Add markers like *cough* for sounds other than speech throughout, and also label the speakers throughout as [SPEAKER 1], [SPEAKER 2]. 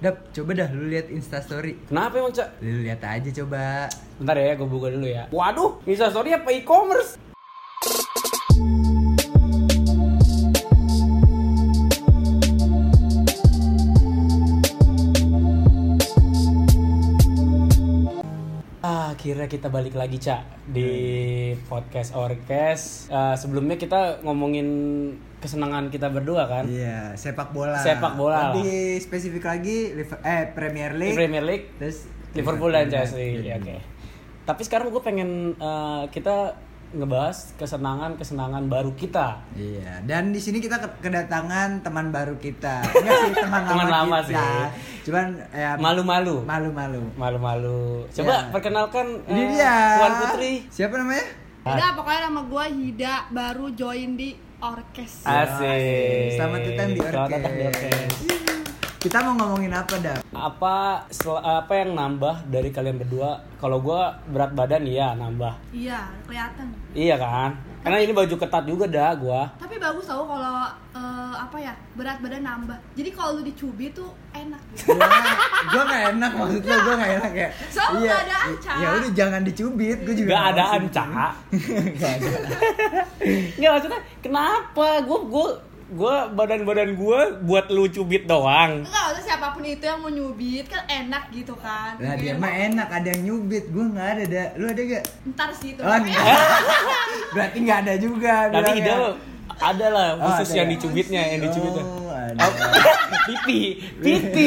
[SPEAKER 1] Dap, coba dah lu lihat instastory
[SPEAKER 2] Kenapa emang, Cak?
[SPEAKER 1] Lu lihat aja coba
[SPEAKER 2] Bentar ya, gue buka dulu ya. Waduh, instastory apa e-commerce? Ah, Akhirnya kita balik lagi, Cak, di podcast Orkes. Eh, sebelumnya kita ngomongin kesenangan kita berdua kan.
[SPEAKER 1] Iya, sepak bola
[SPEAKER 2] Sepak bola
[SPEAKER 1] Lebih spesifik lagi, Liver- eh Premier
[SPEAKER 2] Di
[SPEAKER 1] League
[SPEAKER 2] Premier League,
[SPEAKER 1] Terus
[SPEAKER 2] Liverpool dan Chelsea. Ya, Oke. Tapi sekarang gue pengen eh, kita ngebahas kesenangan-kesenangan baru kita.
[SPEAKER 1] Iya, dan di sini kita ke- kedatangan teman baru kita Enggak
[SPEAKER 2] *laughs*
[SPEAKER 1] sih, teman,
[SPEAKER 2] Teman lama
[SPEAKER 1] kita.
[SPEAKER 2] sih.
[SPEAKER 1] Cuman, ya,
[SPEAKER 2] Malu-malu.
[SPEAKER 1] malu-malu
[SPEAKER 2] Malu-malu.
[SPEAKER 1] Ya.
[SPEAKER 2] Coba perkenalkan
[SPEAKER 1] Ini
[SPEAKER 2] eh,
[SPEAKER 1] dia
[SPEAKER 2] Tuan Putri.
[SPEAKER 1] Siapa namanya?
[SPEAKER 3] Hida, pokoknya nama gue Hida baru join di orkes.
[SPEAKER 2] Asik.
[SPEAKER 1] Selamat datang di
[SPEAKER 2] Selamat datang di
[SPEAKER 1] Orkes.
[SPEAKER 2] Orkes.
[SPEAKER 1] Kita mau ngomongin apa, Dap?
[SPEAKER 2] Apa sel- apa yang nambah dari kalian berdua? Kalau gue berat badan iya nambah.
[SPEAKER 3] Iya, kelihatan.
[SPEAKER 2] Iya kan? Karena ini baju ketat juga dah gue.
[SPEAKER 3] Tapi bagus tau kalau eh, apa ya berat badan nambah. Jadi kalau lu dicubit tuh enak. gitu.
[SPEAKER 1] gue gak Iya, enak maksud lo, gue gak enak ya
[SPEAKER 3] Soalnya nggak ada Anca.
[SPEAKER 1] Ya udah jangan dicubit, gue juga
[SPEAKER 2] Gak ada
[SPEAKER 1] males.
[SPEAKER 2] Cak.
[SPEAKER 1] *laughs* Nggak ada.
[SPEAKER 2] Nggak maksudnya kenapa gue gue gue badan badan gue buat lu cubit doang.
[SPEAKER 3] Enggak, maksudnya siapapun itu yang mau nyubit kan enak gitu kan.
[SPEAKER 1] Lah dia
[SPEAKER 3] Mungkin
[SPEAKER 1] mah enak, ada yang nyubit, gue gak ada, da. lu ada gak?
[SPEAKER 3] Ntar sih itu.
[SPEAKER 1] Oh,
[SPEAKER 3] Makanya-
[SPEAKER 1] enggak. Berarti gak ada juga ya.
[SPEAKER 2] Nanti
[SPEAKER 1] bilangnya.
[SPEAKER 2] ide ada lah
[SPEAKER 1] Iya, Oh,
[SPEAKER 2] khusus
[SPEAKER 1] ada
[SPEAKER 2] yang
[SPEAKER 1] ya?
[SPEAKER 2] dicubitnya yang dicubitnya.
[SPEAKER 1] Oh, ada.
[SPEAKER 2] Oh, *laughs* pipi, pipi,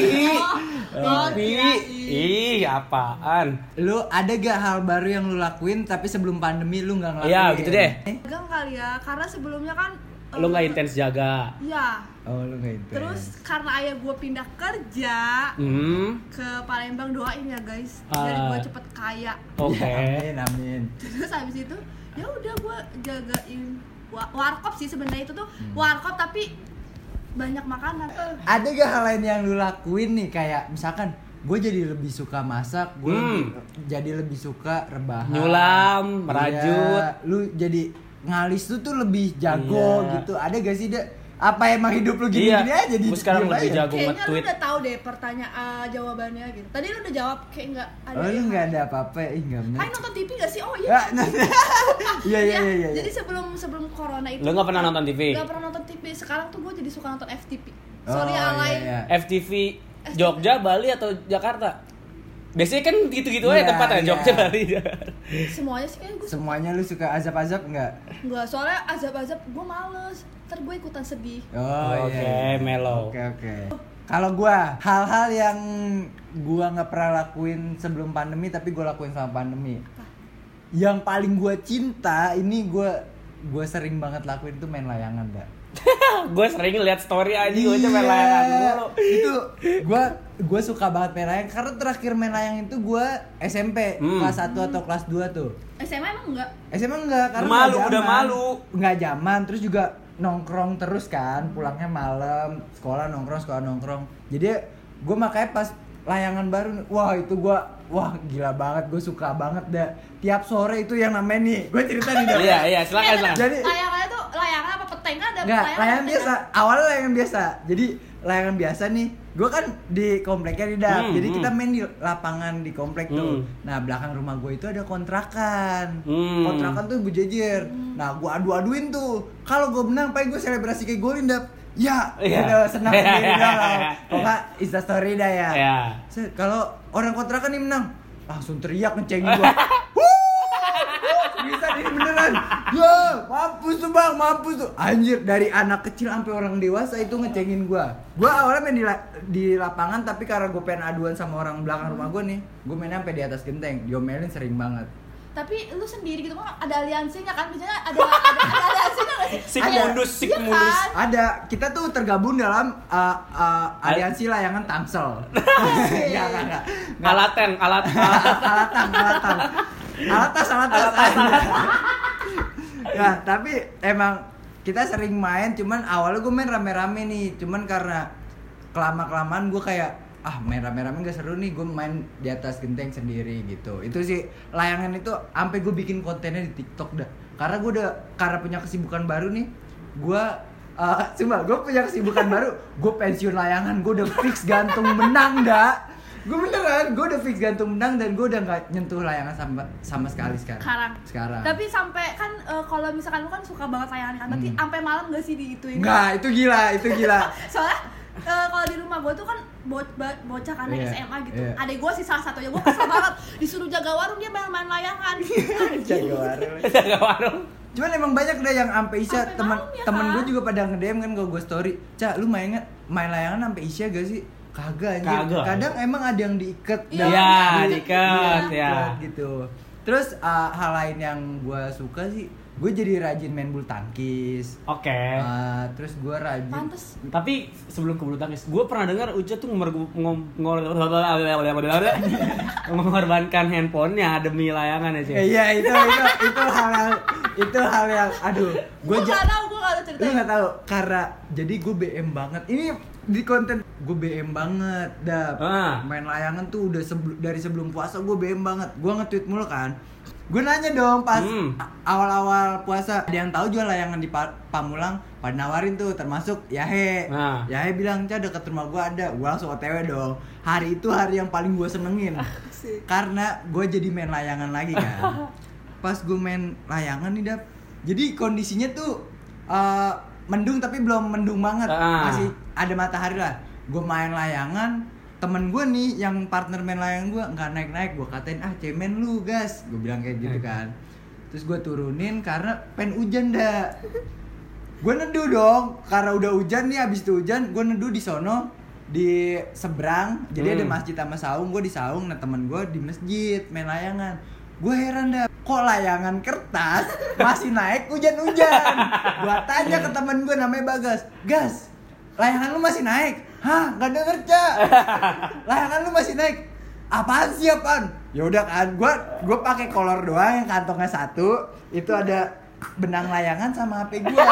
[SPEAKER 3] oh,
[SPEAKER 2] pipi.
[SPEAKER 3] kirain.
[SPEAKER 2] Ih, apaan?
[SPEAKER 1] Lu ada gak hal baru yang lu lakuin tapi sebelum pandemi lu gak ngelakuin?
[SPEAKER 2] Iya, gitu deh.
[SPEAKER 1] Eh?
[SPEAKER 3] Pegang kali ya, karena sebelumnya kan. eh,
[SPEAKER 2] Lu nggak intens jaga.
[SPEAKER 3] Iya.
[SPEAKER 1] Oh lu gak itu
[SPEAKER 3] Terus karena ayah gue pindah kerja
[SPEAKER 2] Hmm,
[SPEAKER 3] ke Palembang doain ya guys, biar
[SPEAKER 2] Ah.
[SPEAKER 3] gue cepet kaya.
[SPEAKER 2] oke.
[SPEAKER 1] Amin, Eh, amin
[SPEAKER 3] terus habis itu ya udah gue jagain wa- warkop sih sebenarnya itu tuh
[SPEAKER 1] Hmm.
[SPEAKER 3] warkop tapi banyak makanan
[SPEAKER 1] Ada gak hal lain yang lu lakuin nih kayak misalkan gue jadi lebih suka masak, gue
[SPEAKER 2] Hmm.
[SPEAKER 1] jadi lebih suka rebahan, Iya,
[SPEAKER 2] Nyulam, merajut.
[SPEAKER 1] lu jadi ngalis lu tuh lebih jago
[SPEAKER 2] Iya.
[SPEAKER 1] gitu. Ada gak sih dek? Apa emang hidup lu gini-gini
[SPEAKER 2] Iya,
[SPEAKER 1] aja? Jadi
[SPEAKER 2] gua sekarang
[SPEAKER 1] diem
[SPEAKER 2] lebih
[SPEAKER 1] aja?
[SPEAKER 2] jago. Gua
[SPEAKER 3] kayaknya lu
[SPEAKER 2] nge-tweet.
[SPEAKER 3] udah tahu deh pertanyaan ah, jawabannya gitu tadi lu udah jawab kayak nggak ada
[SPEAKER 1] Oh, lu
[SPEAKER 3] yang-
[SPEAKER 1] nggak ada apa-apa? Ih, nggak bener.
[SPEAKER 3] Ay, nonton TV gak sih oh iya
[SPEAKER 1] Ah, nah, *laughs* Iya, iya, iya, iya.
[SPEAKER 3] jadi sebelum sebelum corona itu
[SPEAKER 2] Lu nggak pernah nonton TV?
[SPEAKER 3] nggak pernah nonton TV sekarang tuh gue jadi suka nonton FTP
[SPEAKER 1] Oh,
[SPEAKER 3] sorry
[SPEAKER 1] iya,
[SPEAKER 3] alay
[SPEAKER 1] iya.
[SPEAKER 2] FTV Jogja, Bali atau Jakarta? Biasanya kan gitu-gitu
[SPEAKER 1] Iya,
[SPEAKER 2] aja tempatnya
[SPEAKER 1] iya.
[SPEAKER 2] Jogja, Bali.
[SPEAKER 3] semuanya sih kan gue
[SPEAKER 1] Semuanya lu suka azab-azab nggak?
[SPEAKER 3] nggak soalnya azab-azab gue males ntar gue ikutan sedih
[SPEAKER 1] Oh,
[SPEAKER 2] Oke,
[SPEAKER 1] iya.
[SPEAKER 2] mellow.
[SPEAKER 1] Oke, oke. Kalau gua hal-hal yang gua nggak pernah lakuin sebelum pandemi tapi gua lakuin selama pandemi. Yang paling gua cinta ini gua gua sering banget lakuin tuh main layangan, Mbak.
[SPEAKER 2] *laughs* gue sering lihat story aja gue cuma layangan mulu.
[SPEAKER 1] Iya, Itu gua gua suka banget main layang karena terakhir main layang itu gua SMP
[SPEAKER 2] Hmm.
[SPEAKER 1] kelas 1 atau kelas 2 tuh.
[SPEAKER 3] SMA emang enggak
[SPEAKER 1] SMA enggak karena
[SPEAKER 2] Malu,
[SPEAKER 1] nggak
[SPEAKER 2] udah
[SPEAKER 1] zaman.
[SPEAKER 2] malu.
[SPEAKER 1] Nggak zaman terus juga nongkrong terus kan, pulangnya malam, sekolah nongkrong, sekolah nongkrong. Jadi gue makanya pas layangan baru, wah itu gue, wah gila banget, gue suka banget dah. Tiap sore itu yang namanya nih, gue cerita nih dah.
[SPEAKER 2] Iya, iya, silakan
[SPEAKER 3] Eh,
[SPEAKER 2] silakan.
[SPEAKER 1] Jadi-
[SPEAKER 3] layangannya tuh layangan apa peteng kan ada
[SPEAKER 1] Nggak, layangan
[SPEAKER 3] peteng
[SPEAKER 1] biasa.
[SPEAKER 3] kan?
[SPEAKER 1] Awalnya layangan biasa. Jadi layangan biasa nih, gue kan di kompleknya di dap.
[SPEAKER 2] Hmm,
[SPEAKER 1] Jadi
[SPEAKER 2] hmm.
[SPEAKER 1] kita main di lapangan di komplek tuh.
[SPEAKER 2] Hmm.
[SPEAKER 1] Nah belakang rumah gue itu ada kontrakan.
[SPEAKER 2] Hmm.
[SPEAKER 1] Kontrakan tuh berjejer. Nah gue adu-aduin tuh. Kalau gue menang, paling gue selebrasi kayak golin dap. Ya,
[SPEAKER 2] Iya.
[SPEAKER 1] udah
[SPEAKER 2] *laughs*
[SPEAKER 1] senang sendiri dah. Kok nggak instastory dah ya.
[SPEAKER 2] Ya.
[SPEAKER 1] Set, Kalau orang kontrakan nih menang, langsung teriak ngecengin gua. Wuh, Bisa ini beneran. Ya, mampus tuh bang, mampus tuh. Anjir, dari anak kecil sampai orang dewasa itu ngecengin gua. Gua awalnya main di, la- di lapangan tapi karena gua pengen aduan sama orang belakang rumah gua nih, gua main sampai di atas genteng. Diomelin sering banget.
[SPEAKER 3] tapi lu sendiri gitu kan ada aliansinya kan biasanya ada ada, ada aliansinya nggak sih
[SPEAKER 2] Sik
[SPEAKER 3] Ada.
[SPEAKER 2] mundus, sik
[SPEAKER 3] Iya
[SPEAKER 2] mundus.
[SPEAKER 3] kan?
[SPEAKER 1] Ada, kita tuh tergabung dalam uh, uh, aliansi layangan Tangsel. Enggak, enggak, enggak. Enggak.
[SPEAKER 2] Alaten, *laughs* alat alat-
[SPEAKER 1] alatang alatang alatas alatas ya tapi emang kita sering main cuman awalnya gue main rame-rame nih cuman karena kelama kelamaan gue kayak ah main rame-rame gak seru nih gue main di atas genteng sendiri gitu itu sih layangan itu sampai gue bikin kontennya di TikTok dah karena gue udah karena punya kesibukan baru nih gue Eh, *laughs* cuma gue punya kesibukan baru. Gue pensiun layangan, gue udah fix gantung menang dah. Gue beneran, gue udah fix gantung menang dan gue udah nggak nyentuh layangan sama sama sekali sekarang.
[SPEAKER 3] sekarang.
[SPEAKER 1] Sekarang.
[SPEAKER 3] Tapi sampai kan eh, kalau misalkan lu kan suka banget layangan kan, berarti
[SPEAKER 1] Hmm.
[SPEAKER 3] sampai malam gak sih diituin?
[SPEAKER 1] Enggak, itu gila, itu gila.
[SPEAKER 3] Soalnya eh, kalau di rumah gue tuh kan bo- ba- bocah kan anak
[SPEAKER 1] Iya,
[SPEAKER 3] SMA gitu.
[SPEAKER 1] iya.
[SPEAKER 3] Adek gue sih salah satunya gue kesel banget disuruh jaga warung dia main-main layangan.
[SPEAKER 1] *laughs* Jaga warung.
[SPEAKER 2] Jaga warung.
[SPEAKER 1] Cuman emang banyak deh yang sampai Isya
[SPEAKER 3] Sampai
[SPEAKER 1] teman
[SPEAKER 3] malam ya,
[SPEAKER 1] temen
[SPEAKER 3] Kak.
[SPEAKER 1] gue juga pada nge-DM kan ke gue story. Cak, lu main nggak- main layangan sampai Isya gak sih? Kagak anjir.
[SPEAKER 2] Kagak.
[SPEAKER 1] Kadang emang ada yang diikat
[SPEAKER 3] Iya,
[SPEAKER 1] dalam-
[SPEAKER 2] diikat,
[SPEAKER 1] iya,
[SPEAKER 2] ya.
[SPEAKER 1] diikat gitu. Terus uh, hal lain yang gue suka sih, gue jadi rajin main bulu tangkis.
[SPEAKER 2] Oke.
[SPEAKER 1] Uh, terus gue rajin.
[SPEAKER 3] Pantes.
[SPEAKER 2] Tapi sebelum ke bulu tangkis, gue pernah dengar Uca tuh ngor- ngom- ngor- *laughs* mengorbankan handphonenya demi layangan ya, Cek.
[SPEAKER 1] Eh, Iya, itu itu itu hal yang itu hal yang aduh,
[SPEAKER 3] Gue
[SPEAKER 1] gue
[SPEAKER 3] gak tau, gue gak tau
[SPEAKER 1] lu
[SPEAKER 3] ceritanya.
[SPEAKER 1] nggak tahu karena jadi gue BM banget ini di konten gue BM banget dah
[SPEAKER 2] Ah.
[SPEAKER 1] main layangan tuh udah sebelum dari sebelum puasa gue BM banget gue nge-tweet mulu kan gue nanya dong pas
[SPEAKER 2] Hmm.
[SPEAKER 1] a- awal-awal puasa ada yang tahu jual layangan di Pa- Pamulang pada nawarin tuh termasuk Yahe
[SPEAKER 2] Ah.
[SPEAKER 1] Yahe Ya, bilang cah deket rumah gue ada gue langsung OTW dong hari itu hari yang paling gue senengin karena gue jadi main layangan lagi kan pas gue main layangan nih dap jadi kondisinya tuh uh, mendung tapi belum mendung banget
[SPEAKER 2] Ah.
[SPEAKER 1] masih ada matahari lah gue main layangan temen gue nih yang partner main layangan gue nggak naik naik gue katain ah cemen lu gas gue bilang kayak gitu
[SPEAKER 2] Eh.
[SPEAKER 1] kan terus gue turunin karena pen hujan dah gue neduh dong karena udah hujan nih abis itu hujan gue neduh di sono di seberang jadi ada
[SPEAKER 2] Hmm.
[SPEAKER 1] masjid sama saung gue di saung nah temen gue di masjid main layangan gue heran dah kok layangan kertas masih naik hujan-hujan gue tanya ke temen gue namanya bagas gas layangan lu masih naik hah gak denger cak layangan lu masih naik apaan sih apaan ya udah kan gue gue pakai kolor doang yang kantongnya satu itu ada benang layangan sama hp gue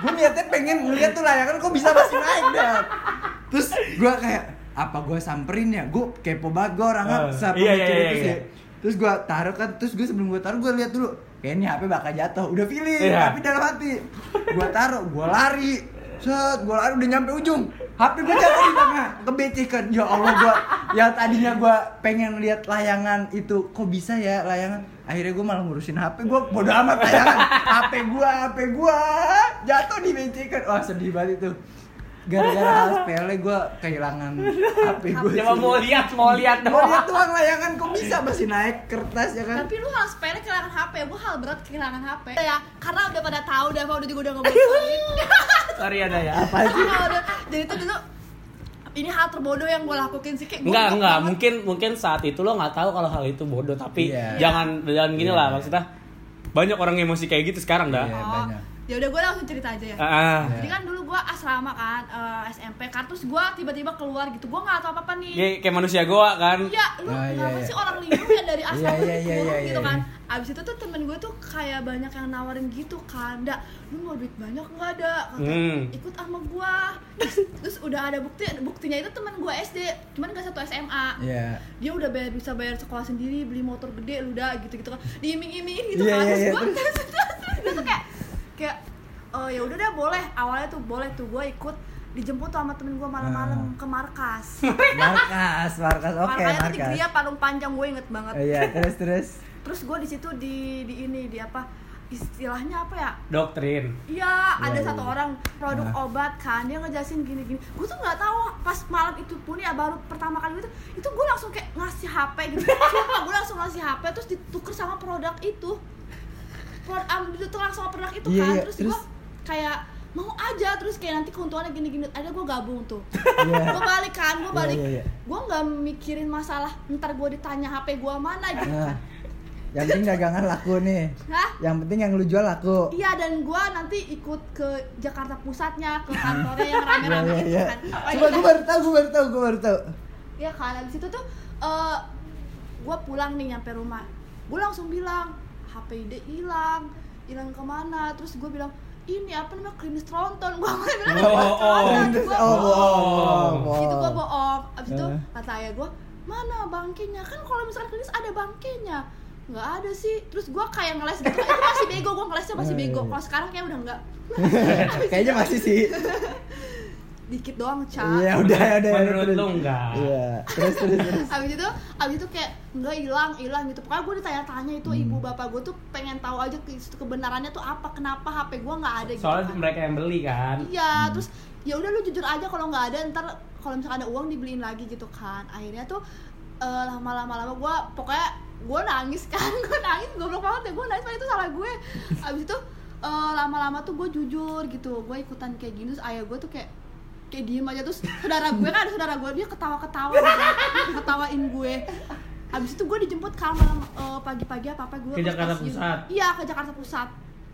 [SPEAKER 1] gue niatnya pengen ngeliat tuh layangan kok bisa masih naik dah terus gue kayak apa gue samperin ya gue kepo banget gue orangnya
[SPEAKER 2] Eh,
[SPEAKER 1] siapa
[SPEAKER 2] iya,
[SPEAKER 1] mikir
[SPEAKER 2] iya,
[SPEAKER 1] itu
[SPEAKER 2] iya,
[SPEAKER 1] sih.
[SPEAKER 2] iya.
[SPEAKER 1] terus gue taruh kan terus gue sebelum gue taruh gue lihat dulu kayaknya hp bakal jatuh udah feeling
[SPEAKER 2] Iya.
[SPEAKER 1] tapi dalam hati gue taruh gue lari set gue lari udah nyampe ujung HP gue jatuh di tengah kebecekan ya Allah gue yang tadinya gue pengen lihat layangan itu kok bisa ya layangan akhirnya gue malah ngurusin HP gue bodo amat layangan HP gue HP gue jatuh di becekan wah sedih banget itu gara-gara hal sepele gue kehilangan HP gue
[SPEAKER 2] Coba mau lihat, mau lihat
[SPEAKER 1] mau
[SPEAKER 2] doang.
[SPEAKER 1] lihat doang layangan kok bisa masih naik kertas ya kan
[SPEAKER 3] Tapi lu hal sepele kehilangan HP, gue hal berat kehilangan HP. Ya, karena udah pada tahu udah apa udah juga udah ngobrolin.
[SPEAKER 2] Sorry ada ya.
[SPEAKER 1] apa sih
[SPEAKER 3] Karena udah- *laughs* Jadi tuh dulu ini hal terbodoh yang gue lakuin sih kayak gua
[SPEAKER 2] Enggak,
[SPEAKER 3] nggak
[SPEAKER 2] enggak.
[SPEAKER 3] banget.
[SPEAKER 2] Mungkin mungkin saat itu lo nggak tahu kalau hal itu bodoh, tapi
[SPEAKER 1] Iya.
[SPEAKER 2] jangan jangan gini
[SPEAKER 1] Iya.
[SPEAKER 2] lah maksudnya. Banyak orang emosi kayak gitu sekarang dah.
[SPEAKER 1] Iya.
[SPEAKER 3] Oh,
[SPEAKER 1] banyak.
[SPEAKER 3] ya udah gue langsung cerita aja ya.
[SPEAKER 2] Ah, ah.
[SPEAKER 1] Iya.
[SPEAKER 3] Jadi kan dulu gue asrama kan eh, SMP kan terus gue tiba-tiba keluar gitu gue nggak tahu apa apa nih.
[SPEAKER 2] Kayak Iya, kayak manusia goa kan.
[SPEAKER 3] Iya, lu
[SPEAKER 1] Ah, iya,
[SPEAKER 3] kenapa
[SPEAKER 1] iya.
[SPEAKER 3] sih orang linglung ya dari asrama
[SPEAKER 1] *laughs* Iya, iya, iya,
[SPEAKER 3] turun
[SPEAKER 1] iya,
[SPEAKER 3] gitu
[SPEAKER 1] iya.
[SPEAKER 3] kan? Abis itu tuh temen gue tuh kayak banyak yang nawarin gitu kan, dak lu mau duit banyak nggak ada? Kata,
[SPEAKER 2] Hmm.
[SPEAKER 3] ikut sama gue. Terus, terus udah ada bukti, buktinya itu temen gue SD, cuman gak satu SMA.
[SPEAKER 1] Iya.
[SPEAKER 3] Dia udah bayar bisa bayar sekolah sendiri, beli motor gede, lu dah gitu gitu kan, diiming-imingin gitu
[SPEAKER 1] Iya,
[SPEAKER 3] kan?
[SPEAKER 1] iya,
[SPEAKER 3] Terus
[SPEAKER 1] iya,
[SPEAKER 3] gue
[SPEAKER 1] terus.
[SPEAKER 3] terus *laughs* terus tuh kayak kayak oh ya udah deh boleh awalnya tuh boleh tuh gue ikut dijemput tuh sama temen gue malam-malam
[SPEAKER 1] Ah.
[SPEAKER 3] ke markas
[SPEAKER 1] Markas, markas, oke,
[SPEAKER 3] Markanya tuh di
[SPEAKER 1] markas.
[SPEAKER 3] Gria Palung Panjang gue inget banget.
[SPEAKER 1] Iya, terus terus.
[SPEAKER 3] Terus gue di situ di di ini di apa istilahnya apa ya?
[SPEAKER 2] Doktrin.
[SPEAKER 3] Iya, ada
[SPEAKER 1] iya,
[SPEAKER 3] satu
[SPEAKER 1] iya.
[SPEAKER 3] orang produk
[SPEAKER 1] Nah.
[SPEAKER 3] obat kan dia ngejelasin gini-gini. Gue tuh nggak tahu pas malam itu pun ya baru pertama kali itu itu gue langsung kayak ngasih HP gitu. Sumpah gue langsung ngasih HP terus ditukar sama produk itu. Produk am- ditukar langsung sama produk itu
[SPEAKER 1] Iya,
[SPEAKER 3] kan.
[SPEAKER 1] iya,
[SPEAKER 3] Terus,
[SPEAKER 1] terus?
[SPEAKER 3] gue kayak mau aja terus kayak nanti keuntungannya gini-gini ada gue gabung tuh
[SPEAKER 1] Iya.
[SPEAKER 3] gue balik kan gue
[SPEAKER 1] Iya,
[SPEAKER 3] balik
[SPEAKER 1] iya, iya.
[SPEAKER 3] gue nggak mikirin masalah ntar gue ditanya hp gue mana gitu
[SPEAKER 1] Nah, yang penting dagangan laku nih.
[SPEAKER 3] Hah?
[SPEAKER 1] Yang penting yang lu jual laku.
[SPEAKER 3] Iya dan gue nanti ikut ke Jakarta Pusatnya
[SPEAKER 1] *laughs*
[SPEAKER 3] ke kantornya yang rame-rame
[SPEAKER 1] Iya,
[SPEAKER 3] gitu
[SPEAKER 1] iya,
[SPEAKER 3] kan.
[SPEAKER 1] iya. Coba gue baru tahu, gue baru tahu, gue baru tahu.
[SPEAKER 3] Iya kan abis itu tuh gue pulang nih nyampe rumah. Gue langsung bilang HP ide hilang, hilang kemana? Terus gue bilang ini apa namanya klinis tronton *laughs* gue
[SPEAKER 2] Oh,
[SPEAKER 3] bilang
[SPEAKER 2] oh, oh.
[SPEAKER 3] gue
[SPEAKER 1] Terus, oh, bohong,
[SPEAKER 3] itu gue
[SPEAKER 1] bohong.
[SPEAKER 3] bohong abis itu
[SPEAKER 1] Eh.
[SPEAKER 3] kata ayah gue mana bangkinya kan kalau misalkan klinis ada bangkinya nggak ada sih terus gua kayak ngeles gitu itu masih bego gua ngelesnya masih bego kalau sekarang kayak udah
[SPEAKER 1] *laughs*
[SPEAKER 3] nggak
[SPEAKER 1] Eh. Kayaknya masih sih.
[SPEAKER 3] dikit doang cak
[SPEAKER 1] Iya, udah ya, udah. ya,
[SPEAKER 2] Menurut
[SPEAKER 1] terus.
[SPEAKER 2] lu enggak?
[SPEAKER 1] Iya, terus terus terus.
[SPEAKER 3] abis itu abis itu kayak nggak hilang hilang gitu pokoknya gue ditanya-tanya itu
[SPEAKER 1] Hmm.
[SPEAKER 3] ibu bapak gue tuh pengen tahu aja ke- kebenarannya tuh apa kenapa hp gue nggak ada gitu
[SPEAKER 2] Soalnya
[SPEAKER 3] kan.
[SPEAKER 2] mereka yang beli kan.
[SPEAKER 3] iya terus ya udah lu jujur aja kalau nggak ada ntar kalau misalkan ada uang dibeliin lagi gitu kan akhirnya tuh eh, lama-lama lama gue pokoknya gue nangis kan *laughs* gue nangis goblok banget ya gue nangis padahal itu salah gue abis itu eh, lama-lama tuh gue jujur gitu gue ikutan kayak gini terus ayah gue tuh kayak kayak diem aja terus saudara gue kan ada saudara gue dia ketawa-ketawa gitu. ketawain gue abis itu gue dijemput kamar eh, pagi-pagi apa apa gue
[SPEAKER 2] Ke Jakarta Pusat.
[SPEAKER 3] iya ke Jakarta Pusat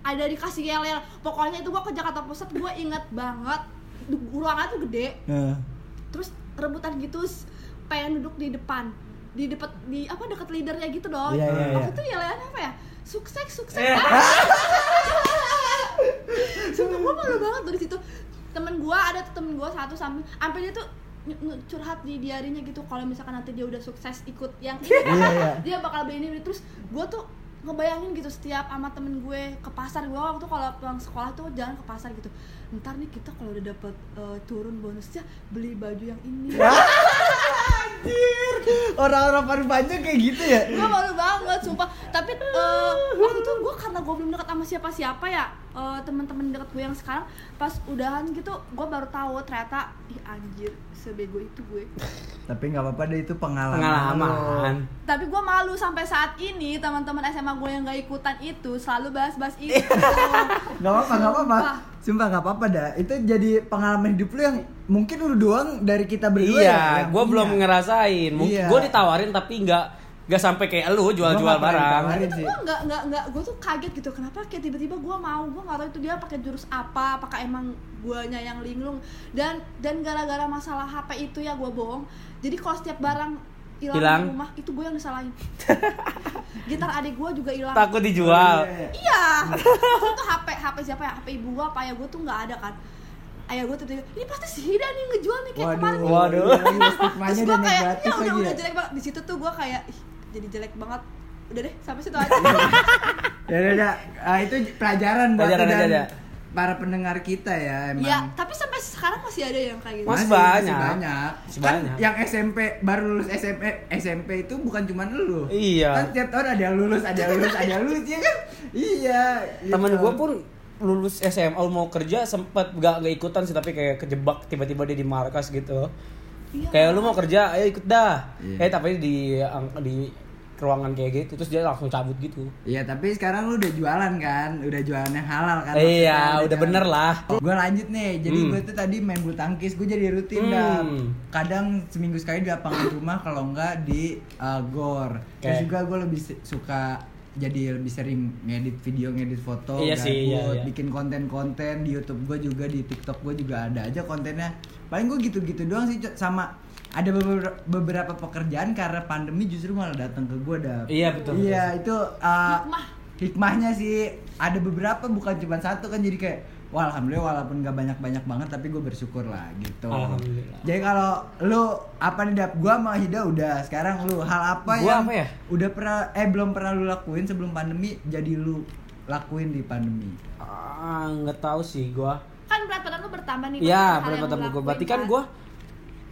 [SPEAKER 3] ada dikasih yel-yel pokoknya itu gue ke Jakarta Pusat gue inget banget Du- ruangan tuh gede
[SPEAKER 1] Nah,
[SPEAKER 3] terus rebutan gitu s- pengen duduk di depan di dekat di apa dekat leadernya gitu dong
[SPEAKER 1] Iya, iya,
[SPEAKER 3] waktu
[SPEAKER 1] iya.
[SPEAKER 3] itu yel-yelan apa ya sukses sukses
[SPEAKER 2] Eh.
[SPEAKER 3] Sumpah gue malu banget tuh di situ. Temen gue ada tuh temen gue satu sampai sampai dia tuh ny- ny- curhat di diarinya gitu kalau misalkan nanti dia udah sukses ikut yang
[SPEAKER 1] Iya,
[SPEAKER 3] ini,
[SPEAKER 1] iya.
[SPEAKER 3] *laughs* dia bakal beli ini beli. terus gue tuh ngebayangin gitu setiap sama temen gue ke pasar gue waktu kalau pulang sekolah tuh jangan ke pasar gitu ntar nih kita kalau udah dapet eh, turun bonusnya beli baju yang ini
[SPEAKER 1] Orang-orang paling panjang kayak gitu ya.
[SPEAKER 3] gue malu banget sumpah tapi eh, waktu itu gue karena gue belum deket sama siapa-siapa ya eh, teman-teman deket gue yang sekarang pas udahan gitu gue baru tahu ternyata ih anjir sebego itu gue
[SPEAKER 1] Tapi nggak apa-apa deh itu pengalaman.
[SPEAKER 2] Pengalaman.
[SPEAKER 3] tapi gue malu sampai saat ini teman-teman SMA gue yang gak ikutan itu selalu bahas-bahas itu
[SPEAKER 1] Gak apa-apa, gak apa-apa. Sumpah gak apa-apa dah. Itu jadi pengalaman hidup lu yang mungkin lu doang dari kita berdua.
[SPEAKER 2] Iya,
[SPEAKER 1] ya, yang
[SPEAKER 2] gue
[SPEAKER 1] punya.
[SPEAKER 2] belum ngerasain. Mungkin
[SPEAKER 1] Iya.
[SPEAKER 2] gue ditawarin tapi nggak nggak sampai kayak lu jual-jual
[SPEAKER 1] Gua nggak pernah
[SPEAKER 2] barang.
[SPEAKER 1] ditawarin
[SPEAKER 3] itu
[SPEAKER 1] sih.
[SPEAKER 3] gue Gitu nggak nggak nggak gue tuh kaget gitu kenapa kayak tiba-tiba gue mau gue nggak tahu itu dia pakai jurus apa apakah emang guanya yang linglung dan dan gara-gara masalah HP itu ya gue bohong jadi kalau setiap barang hilang
[SPEAKER 2] Hilang?
[SPEAKER 3] di rumah itu gue yang
[SPEAKER 1] *laughs*
[SPEAKER 3] disalahin gitar adik gue juga hilang
[SPEAKER 2] Takut dijual.
[SPEAKER 1] Iya.
[SPEAKER 3] iya itu tuh HP HP siapa ya HP ibu gue apa ya gue tuh nggak ada kan ayah gue tiba-tiba ini pasti si Hida nih yang ngejual nih kayak kemarin nih."
[SPEAKER 1] waduh,
[SPEAKER 2] Waduh.
[SPEAKER 1] waduh.
[SPEAKER 3] terus
[SPEAKER 1] Stigmanya
[SPEAKER 3] gue
[SPEAKER 1] dan
[SPEAKER 3] kayak
[SPEAKER 1] negatif
[SPEAKER 3] ya udah
[SPEAKER 1] lagi
[SPEAKER 3] udah
[SPEAKER 1] ya.
[SPEAKER 3] jelek banget di situ tuh gue kayak "Ih, jadi jelek banget udah deh sampai situ aja
[SPEAKER 1] *laughs* Ya, ya, ya. Ah, itu pelajaran buat
[SPEAKER 2] Pelajaran
[SPEAKER 1] lu dan
[SPEAKER 2] aja, ya.
[SPEAKER 1] para pendengar kita ya emang.
[SPEAKER 3] Ya, tapi sampai sekarang masih ada yang kayak gitu.
[SPEAKER 2] Mas-
[SPEAKER 1] Masih,
[SPEAKER 2] banyak.
[SPEAKER 1] masih banyak.
[SPEAKER 2] Masih
[SPEAKER 1] Kan
[SPEAKER 2] banyak.
[SPEAKER 1] yang SMP baru lulus SMP SMP itu bukan cuma lu.
[SPEAKER 2] Iya.
[SPEAKER 1] Kan tiap tahun ada yang lulus, ada yang lulus, ada yang lulus ya kan? Iya.
[SPEAKER 2] Temen
[SPEAKER 1] gitu.
[SPEAKER 2] gue pun lulus SMA mau kerja sempet gak, gak ikutan sih tapi kayak kejebak tiba-tiba dia di markas gitu.
[SPEAKER 3] Iya.
[SPEAKER 2] Kayak lu mau kerja, ayo ikut dah.
[SPEAKER 1] Iya.
[SPEAKER 2] Eh tapi di ang- di ruangan kayak gitu terus dia langsung cabut gitu.
[SPEAKER 1] Iya, tapi sekarang lu udah jualan kan? Udah jualan yang halal kan?
[SPEAKER 2] iya, udah bener lah.
[SPEAKER 1] Gue lanjut nih, jadi
[SPEAKER 2] Hmm.
[SPEAKER 1] gue tuh tadi main bulu tangkis, gue jadi rutin
[SPEAKER 2] Hmm.
[SPEAKER 1] dah. Kadang seminggu sekali di lapangan rumah, kalau enggak di uh, gor. Terus
[SPEAKER 2] Oke.
[SPEAKER 1] juga gue lebih se- suka jadi lebih sering ngedit video, ngedit foto,
[SPEAKER 2] Iya sih, iya,
[SPEAKER 1] gabut,
[SPEAKER 2] iya.
[SPEAKER 1] bikin konten-konten di YouTube gue juga di TikTok gue juga ada aja kontennya. Paling gue gitu-gitu doang sih, Co. sama ada beber- beberapa pekerjaan karena pandemi justru malah datang ke gue dah.
[SPEAKER 2] Iya, betul, betul.
[SPEAKER 1] Iya itu uh,
[SPEAKER 3] Hikmah.
[SPEAKER 1] hikmahnya sih ada beberapa bukan cuma satu kan jadi kayak wah alhamdulillah walaupun gak banyak banyak banget tapi gue bersyukur lah gitu.
[SPEAKER 2] Alhamdulillah.
[SPEAKER 1] Jadi kalau lu apa nih dap gua sama Hida udah sekarang lu hal apa
[SPEAKER 2] Gua
[SPEAKER 1] yang
[SPEAKER 2] apa ya?
[SPEAKER 1] udah pernah eh belum pernah lu lakuin sebelum pandemi jadi lu lakuin di pandemi.
[SPEAKER 2] Ah, nggak tahu sih gua.
[SPEAKER 3] Kan berat badan lu bertambah nih.
[SPEAKER 2] Iya,
[SPEAKER 3] banyak hal
[SPEAKER 2] berat
[SPEAKER 3] yang
[SPEAKER 2] badan
[SPEAKER 3] lu
[SPEAKER 2] gua.
[SPEAKER 3] lakuin,
[SPEAKER 2] Berarti kan gua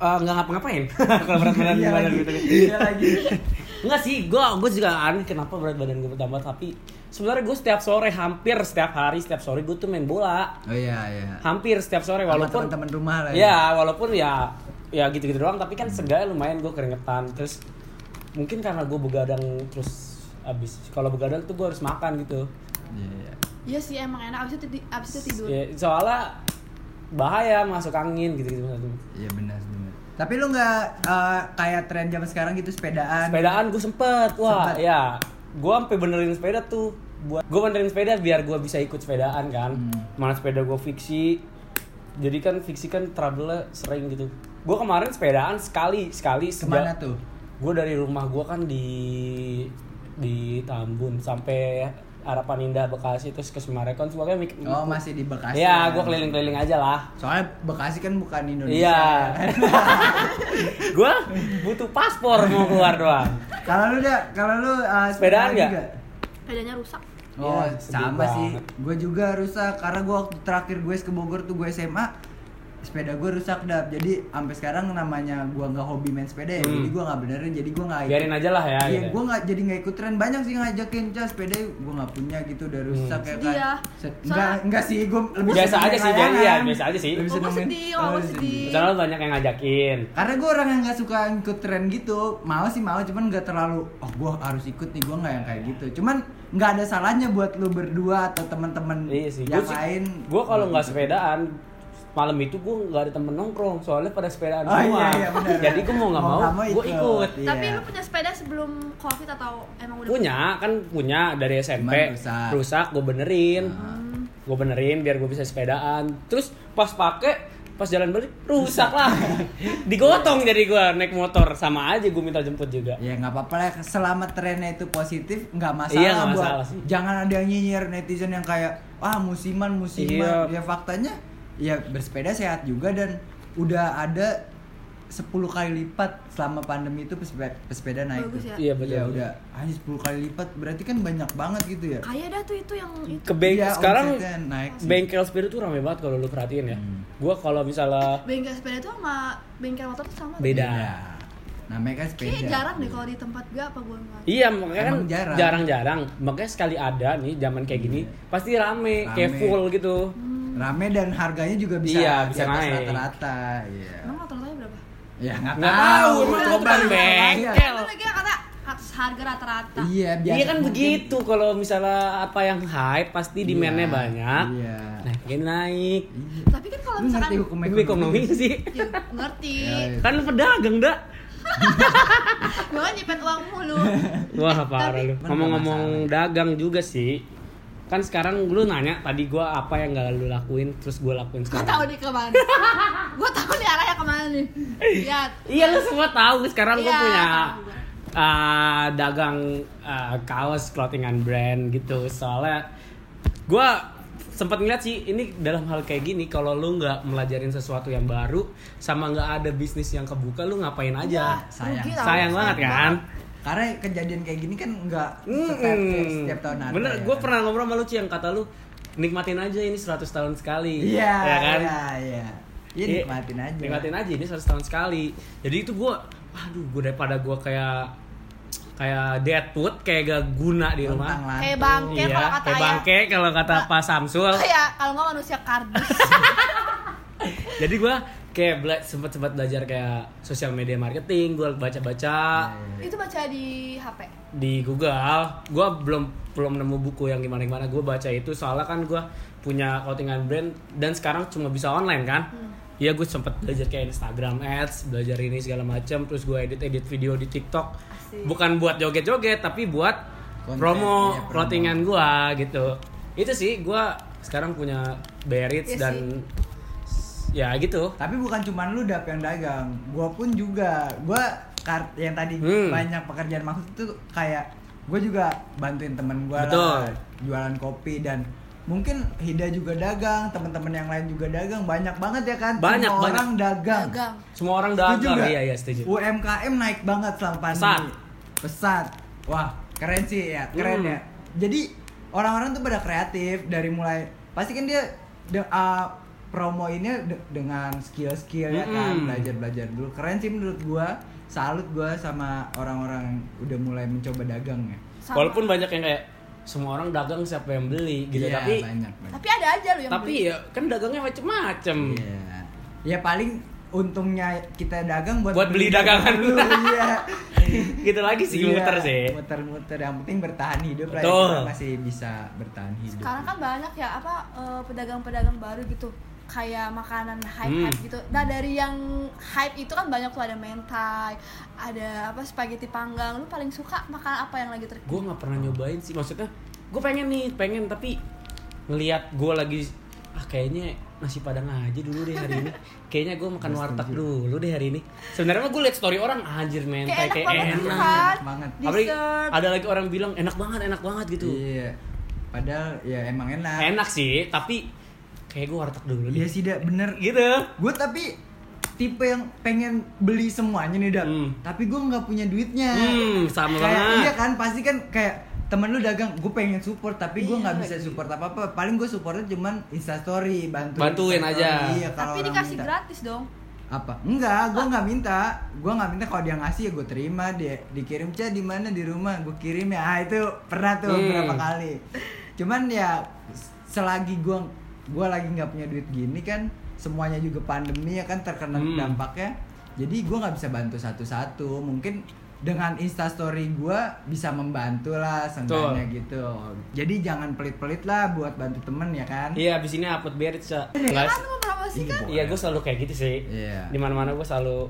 [SPEAKER 2] eh, nggak ngapa-ngapain *laughs* kalau berat badan
[SPEAKER 1] Iya
[SPEAKER 2] badan
[SPEAKER 1] lagi.
[SPEAKER 2] gitu.
[SPEAKER 1] *laughs* Iya
[SPEAKER 2] *laughs*
[SPEAKER 1] lagi.
[SPEAKER 2] Enggak sih, gua gua juga aneh kenapa berat badan gua bertambah tapi sebenarnya gua setiap sore hampir setiap hari setiap sore gua tuh main bola.
[SPEAKER 1] Oh iya iya.
[SPEAKER 2] Hampir setiap sore
[SPEAKER 1] Sama
[SPEAKER 2] walaupun
[SPEAKER 1] teman-teman rumah lah.
[SPEAKER 2] ya walaupun ya ya gitu-gitu doang tapi kan seenggaknya lumayan gue keringetan terus mungkin karena gue begadang terus abis kalau begadang tuh gue harus makan gitu
[SPEAKER 1] Iya, iya.
[SPEAKER 3] Iya sih emang enak abis itu, ti- abis itu tidur.
[SPEAKER 2] ya, soalnya bahaya masuk angin gitu-gitu
[SPEAKER 1] Iya benar benar. Tapi lu nggak eh, kayak tren zaman sekarang gitu sepedaan?
[SPEAKER 2] sepedaan gue sempet wah
[SPEAKER 1] Sempet.
[SPEAKER 2] ya gue sampai benerin sepeda tuh buat gue benerin sepeda biar gue bisa ikut sepedaan kan
[SPEAKER 1] Hmm.
[SPEAKER 2] mana sepeda gue fiksi jadi kan fiksi kan trouble sering gitu gue kemarin sepedaan sekali sekali
[SPEAKER 1] Kemana
[SPEAKER 2] sejak-
[SPEAKER 1] tuh?
[SPEAKER 2] gue dari rumah gue kan di di Tambun sampai Harapan Indah Bekasi terus ke Semarekon semuanya mik-
[SPEAKER 1] Oh masih di Bekasi.
[SPEAKER 2] Gitu. Iya, gua keliling-keliling aja lah.
[SPEAKER 1] Soalnya Bekasi kan bukan Indonesia.
[SPEAKER 2] Iya. *laughs*
[SPEAKER 1] kan?
[SPEAKER 2] gua butuh paspor mau keluar
[SPEAKER 1] *laughs*
[SPEAKER 2] doang.
[SPEAKER 1] kalau lu dah, kalau lu uh,
[SPEAKER 2] Sepedaan nggak?
[SPEAKER 3] Bedanya rusak.
[SPEAKER 1] Oh,
[SPEAKER 2] Iya, sedih
[SPEAKER 1] sama sih.
[SPEAKER 2] banget.
[SPEAKER 1] Gue juga rusak karena gue waktu terakhir gue ke Bogor tuh gue SMA sepeda gue rusak dap jadi sampai sekarang namanya gue nggak hobi main sepeda ya
[SPEAKER 2] Hmm.
[SPEAKER 1] jadi gue nggak benerin jadi gue nggak
[SPEAKER 2] Biarin aja lah ya.
[SPEAKER 1] Iya,
[SPEAKER 2] gitu.
[SPEAKER 1] gue nggak jadi nggak ikut tren banyak sih ngajakin cas sepeda gue nggak punya gitu udah rusak ya kan.
[SPEAKER 3] Sedih ya.
[SPEAKER 1] Se-
[SPEAKER 3] Soalnya-
[SPEAKER 1] Enggak, enggak sih gue lebih
[SPEAKER 2] Hmm. Biasa
[SPEAKER 1] seneng
[SPEAKER 2] aja
[SPEAKER 1] main
[SPEAKER 2] sih, jadi ya,
[SPEAKER 1] layangan.
[SPEAKER 2] biasa aja sih.
[SPEAKER 1] Lebih
[SPEAKER 3] Oh, gua
[SPEAKER 1] seneng main-
[SPEAKER 3] sedih, oh, gua
[SPEAKER 1] lebih
[SPEAKER 3] sedih.
[SPEAKER 2] iya. Misalnya lu banyak yang ngajakin.
[SPEAKER 1] Karena gue orang yang nggak suka ikut tren gitu, mau sih mau, cuman nggak terlalu, oh gue harus ikut nih, gue nggak yang kayak gitu. Cuman nggak ada salahnya buat lu berdua atau teman-teman
[SPEAKER 2] Iya sih.
[SPEAKER 1] yang
[SPEAKER 2] Gua sih-
[SPEAKER 1] lain.
[SPEAKER 2] Gua kalau nggak sepedaan malam itu gue nggak ada temen nongkrong soalnya pada sepedaan
[SPEAKER 1] Oh, iya,
[SPEAKER 2] semua.
[SPEAKER 1] iya, benar.
[SPEAKER 2] Jadi gue mau nggak
[SPEAKER 1] Mau
[SPEAKER 2] mau,
[SPEAKER 1] nggak mau
[SPEAKER 2] gue
[SPEAKER 1] ikut.
[SPEAKER 2] ikut.
[SPEAKER 1] Iya.
[SPEAKER 3] Tapi lu punya sepeda sebelum covid atau emang udah
[SPEAKER 2] Punya kan punya dari SMP
[SPEAKER 1] Cuman rusak. Nah.
[SPEAKER 2] gue benerin. Gue benerin biar gue bisa sepedaan. Terus pas pakai pas jalan balik rusak lah. Digotong jadi gue naik motor sama aja gue minta jemput juga.
[SPEAKER 1] Ya nggak apa-apa lah, selama trennya itu positif nggak masalah
[SPEAKER 2] Iya, nggak
[SPEAKER 1] buat.
[SPEAKER 2] masalah sih.
[SPEAKER 1] Jangan ada yang nyinyir netizen yang kayak ah musiman musiman.
[SPEAKER 2] Iya.
[SPEAKER 1] Ya faktanya ya bersepeda sehat juga dan udah ada 10 kali lipat selama pandemi itu pesepeda, pesepeda naik. tuh.
[SPEAKER 3] Bagus ya.
[SPEAKER 2] Iya betul.
[SPEAKER 1] Iya udah hanya 10 kali lipat berarti kan banyak banget gitu ya.
[SPEAKER 3] Kayak dah tuh itu yang itu.
[SPEAKER 2] Ke beng-
[SPEAKER 1] Iya,
[SPEAKER 2] sekarang
[SPEAKER 1] omsetnya Hmm. naik sih.
[SPEAKER 2] bengkel sepeda tuh rame banget kalau lu perhatiin ya. Gua kalau misalnya
[SPEAKER 3] Bengkel sepeda tuh sama bengkel motor tuh sama.
[SPEAKER 2] Beda.
[SPEAKER 1] Namanya kan sepeda.
[SPEAKER 3] Kayaknya jarang deh kalau di tempat gue apa gue enggak.
[SPEAKER 2] Iya makanya kan
[SPEAKER 1] Emang jarang. Iya.
[SPEAKER 2] jarang-jarang Makanya sekali ada nih zaman kayak gini Pasti rame,
[SPEAKER 1] Rame.
[SPEAKER 2] kayak full gitu
[SPEAKER 1] Rame dan harganya juga bisa
[SPEAKER 2] Iya,
[SPEAKER 1] di
[SPEAKER 2] bisa
[SPEAKER 1] atas
[SPEAKER 2] naik.
[SPEAKER 1] rata-rata. Iya.
[SPEAKER 3] Emang motornya berapa?
[SPEAKER 1] Ya nggak
[SPEAKER 2] Nggak
[SPEAKER 1] tahu,
[SPEAKER 2] tahu,
[SPEAKER 1] emang
[SPEAKER 2] itu
[SPEAKER 1] gua
[SPEAKER 2] kan
[SPEAKER 1] beli
[SPEAKER 2] bengkel.
[SPEAKER 1] apa aja.
[SPEAKER 3] Itu Kan lagi yang kata atas harga rata-rata.
[SPEAKER 1] Iya, biasa.
[SPEAKER 2] Iya kan
[SPEAKER 1] mungkin-
[SPEAKER 2] begitu kalau misalnya apa yang hype pasti demandnya
[SPEAKER 1] Iya,
[SPEAKER 2] banyak
[SPEAKER 1] iya.
[SPEAKER 2] Nah ini naik
[SPEAKER 3] Tapi kan kalau
[SPEAKER 1] Lu ngerti
[SPEAKER 3] misalkan
[SPEAKER 1] hukum
[SPEAKER 2] Demi
[SPEAKER 1] ekonomi?
[SPEAKER 2] ekonomi sih
[SPEAKER 3] ya,
[SPEAKER 2] *laughs*
[SPEAKER 3] ngerti.
[SPEAKER 1] Ya, ya.
[SPEAKER 2] Kan lu pedagang dak iya.
[SPEAKER 3] Gue kan nyipet uang mulu.
[SPEAKER 2] *laughs* Wah parah lu
[SPEAKER 1] Emang
[SPEAKER 2] Ngomong-ngomong dagang juga sih Kan sekarang lu nanya tadi gua apa yang gak lu lakuin Terus gua lakuin
[SPEAKER 3] Gue
[SPEAKER 2] sekarang
[SPEAKER 3] tahu nih kemana. gue tahu nih arahnya kemana nih. Lihat.
[SPEAKER 2] Iya lu semua tahu sekarang gue
[SPEAKER 3] Iya,
[SPEAKER 2] punya
[SPEAKER 3] tahu gua.
[SPEAKER 2] uh, dagang uh, kaos clothingan brand gitu soalnya gue sempat ngeliat sih ini dalam hal kayak gini kalau lu nggak melajarin sesuatu yang baru sama nggak ada bisnis yang kebuka lu ngapain aja
[SPEAKER 3] Wah,
[SPEAKER 1] sayang.
[SPEAKER 3] rugi tau.
[SPEAKER 2] Iya. sayang banget kan
[SPEAKER 1] Karena kejadian kayak gini kan nggak setiap,
[SPEAKER 2] Mm-mm.
[SPEAKER 1] setiap tahun ada.
[SPEAKER 2] bener
[SPEAKER 1] ya
[SPEAKER 2] gue
[SPEAKER 1] kan?
[SPEAKER 2] pernah ngobrol sama lu Ci, yang kata lu nikmatin aja ini 100 tahun sekali
[SPEAKER 1] Iya,
[SPEAKER 2] ya kan
[SPEAKER 1] iya, iya. Iya,
[SPEAKER 2] Iya,
[SPEAKER 1] nikmatin aja.
[SPEAKER 2] nikmatin aja ini 100 tahun sekali jadi itu gue aduh gue daripada gue kayak kayak Deadwood kayak gak guna di rumah Iya,
[SPEAKER 1] Lantang-lantang.
[SPEAKER 3] Kayak bangke kalau kata
[SPEAKER 2] kayak
[SPEAKER 3] ayah.
[SPEAKER 2] bangke kalau kata Pak Samsul
[SPEAKER 3] Kayak Oh iya, kalau nggak manusia kardus. *laughs*
[SPEAKER 2] jadi gue kayak bela sempat sempat belajar kayak sosial media marketing gue baca baca
[SPEAKER 1] Iya,
[SPEAKER 3] itu baca di HP.
[SPEAKER 2] di Google gue belum belum nemu buku yang gimana gimana gue baca itu soalnya kan gue punya clothingan brand dan sekarang cuma bisa online kan
[SPEAKER 3] Hmm.
[SPEAKER 2] Iya gue sempet belajar kayak Instagram ads, belajar ini segala macam, terus gue edit edit video di TikTok.
[SPEAKER 3] Asik.
[SPEAKER 2] Bukan buat joget-joget, tapi buat
[SPEAKER 1] Konten,
[SPEAKER 2] promo
[SPEAKER 1] iya, promo.
[SPEAKER 2] clothingan gue gitu. Itu sih gue sekarang punya Berits
[SPEAKER 3] Iya
[SPEAKER 2] dan ya gitu.
[SPEAKER 1] Tapi bukan cuman lu dap yang dagang, gua pun juga. Gua kar- yang tadi
[SPEAKER 2] Hmm.
[SPEAKER 1] banyak pekerjaan maksud itu kayak gua juga bantuin temen gua lah
[SPEAKER 2] Betul.
[SPEAKER 1] jualan kopi dan mungkin Hida juga dagang, teman-teman yang lain juga dagang, banyak banget ya kan?
[SPEAKER 2] Banyak,
[SPEAKER 1] Semua
[SPEAKER 2] banyak.
[SPEAKER 1] orang dagang.
[SPEAKER 3] Dagang.
[SPEAKER 2] Semua orang
[SPEAKER 1] Setuju
[SPEAKER 2] dagang,
[SPEAKER 1] nggak?
[SPEAKER 2] iya iya setuju.
[SPEAKER 1] UMKM naik banget selama
[SPEAKER 2] Pesat.
[SPEAKER 1] pandemi. Pesat. Wah, keren sih ya, keren
[SPEAKER 2] Hmm.
[SPEAKER 1] ya. Jadi orang-orang tuh pada kreatif dari mulai pasti kan dia de- uh, promo ini de- dengan skill-skill ya kan,
[SPEAKER 2] Mm-mm.
[SPEAKER 1] belajar-belajar dulu. Keren sih menurut gua. Salut gua sama orang-orang yang udah mulai mencoba dagang ya.
[SPEAKER 3] Sama.
[SPEAKER 2] Walaupun banyak yang kayak semua orang dagang siapa yang beli gitu,
[SPEAKER 1] Iya,
[SPEAKER 2] tapi
[SPEAKER 1] banyak banyak.
[SPEAKER 3] Tapi ada aja loh yang
[SPEAKER 2] tapi ya kan dagangnya macem-macem.
[SPEAKER 1] Iya. Ya paling untungnya kita dagang buat,
[SPEAKER 2] Buat beli dagangan
[SPEAKER 1] dulu. iya.
[SPEAKER 2] *laughs* gitu lagi sih
[SPEAKER 1] Iya,
[SPEAKER 2] muter sih.
[SPEAKER 1] muter-muter yang penting bertahan hidup lah ya.
[SPEAKER 2] Betul.
[SPEAKER 1] Kita masih bisa bertahan hidup
[SPEAKER 3] sekarang kan banyak ya apa eh, pedagang-pedagang baru gitu kayak makanan hype hype
[SPEAKER 2] Hmm.
[SPEAKER 3] gitu nah dari yang hype itu kan banyak tuh ada mentai ada apa spaghetti panggang lu paling suka makan apa yang lagi terkenal
[SPEAKER 2] gue nggak pernah nyobain sih maksudnya gue pengen nih pengen tapi ngelihat gue lagi ah kayaknya nasi padang aja dulu deh
[SPEAKER 1] *laughs*
[SPEAKER 2] hari ini kayaknya gue makan warteg dulu deh hari ini sebenarnya mah gue liat story orang anjir men
[SPEAKER 3] kayak
[SPEAKER 2] kayak kayak enak
[SPEAKER 3] enak banget gitu kan
[SPEAKER 1] enak banget.
[SPEAKER 2] Apalagi
[SPEAKER 3] dessert
[SPEAKER 2] ada lagi orang bilang enak banget enak banget gitu
[SPEAKER 1] iya Padahal ya emang enak.
[SPEAKER 2] Enak sih, tapi kayak gue warteg dulu
[SPEAKER 1] Iya
[SPEAKER 2] deh.
[SPEAKER 1] sih dak bener.
[SPEAKER 2] Gitu.
[SPEAKER 1] Gue tapi tipe yang pengen beli semuanya nih dak.
[SPEAKER 2] Hmm.
[SPEAKER 1] Tapi gue nggak punya duitnya.
[SPEAKER 2] Hmm, sama
[SPEAKER 1] Iya. kayak,
[SPEAKER 2] banget.
[SPEAKER 1] Iya kan pasti kan kayak temen lu dagang, gue pengen support tapi gue
[SPEAKER 3] Iya,
[SPEAKER 1] nggak bisa support apa apa. Paling gue supportnya cuman instastory, bantuin.
[SPEAKER 2] Bantuin
[SPEAKER 1] Instastory.
[SPEAKER 2] aja.
[SPEAKER 1] Iya, kalau
[SPEAKER 3] Tapi
[SPEAKER 1] orang
[SPEAKER 3] dikasih
[SPEAKER 1] minta.
[SPEAKER 3] gratis dong.
[SPEAKER 1] apa enggak gue nggak minta gue nggak minta kalau dia ngasih ya gue terima dia dikirim cah di mana di rumah gue kirim ya ah, itu pernah tuh
[SPEAKER 2] Hmm.
[SPEAKER 1] berapa kali cuman ya selagi gue gue lagi nggak punya duit gini kan semuanya juga pandemi ya kan terkena
[SPEAKER 2] Hmm.
[SPEAKER 1] dampaknya jadi gue nggak bisa bantu satu-satu mungkin dengan instastory gue bisa membantu lah seenggaknya gitu jadi jangan pelit-pelit lah buat bantu temen ya kan
[SPEAKER 2] Iya, abis ini upload berit, Cak. Nggak-
[SPEAKER 3] Kan lu mempromosikan.
[SPEAKER 1] Iya,
[SPEAKER 2] Iya, gue selalu kayak gitu sih.
[SPEAKER 1] Iya.
[SPEAKER 2] Di mana-mana gue selalu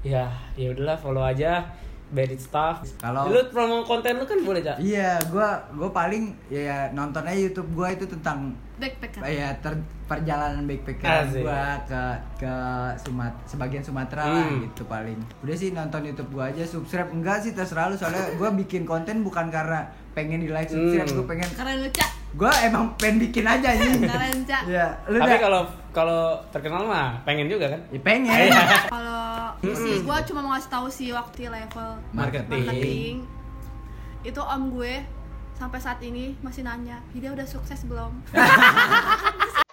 [SPEAKER 2] ya ya udahlah follow aja berit staff.
[SPEAKER 1] Kalau-
[SPEAKER 2] lu promo konten lu kan boleh, Cak.
[SPEAKER 1] Iya, gua gua paling ya nontonnya YouTube gua itu tentang
[SPEAKER 3] Backpacker.
[SPEAKER 1] ya ter- perjalanan backpacker
[SPEAKER 2] Asik.
[SPEAKER 1] gua ke ke Sumat sebagian Sumatera lah
[SPEAKER 2] Hmm.
[SPEAKER 1] gitu paling. Udah sih nonton YouTube gua aja, subscribe enggak sih terserah lu soalnya gua bikin konten bukan karena pengen di like subscribe,
[SPEAKER 2] Hmm.
[SPEAKER 1] gua pengen
[SPEAKER 3] Keren lu, Cak.
[SPEAKER 1] gua emang pengen bikin aja ini.
[SPEAKER 3] Keren, Cak.
[SPEAKER 1] *laughs* Iya, lu
[SPEAKER 2] Tapi
[SPEAKER 1] dah-
[SPEAKER 2] kalau kalau terkenal mah pengen juga kan?
[SPEAKER 1] Ya, pengen
[SPEAKER 3] Kalau sih gue cuma mau ngasih tahu sih waktu level
[SPEAKER 2] Marketing.
[SPEAKER 3] marketing itu om gue sampai saat ini masih nanya, dia udah sukses belum? Masih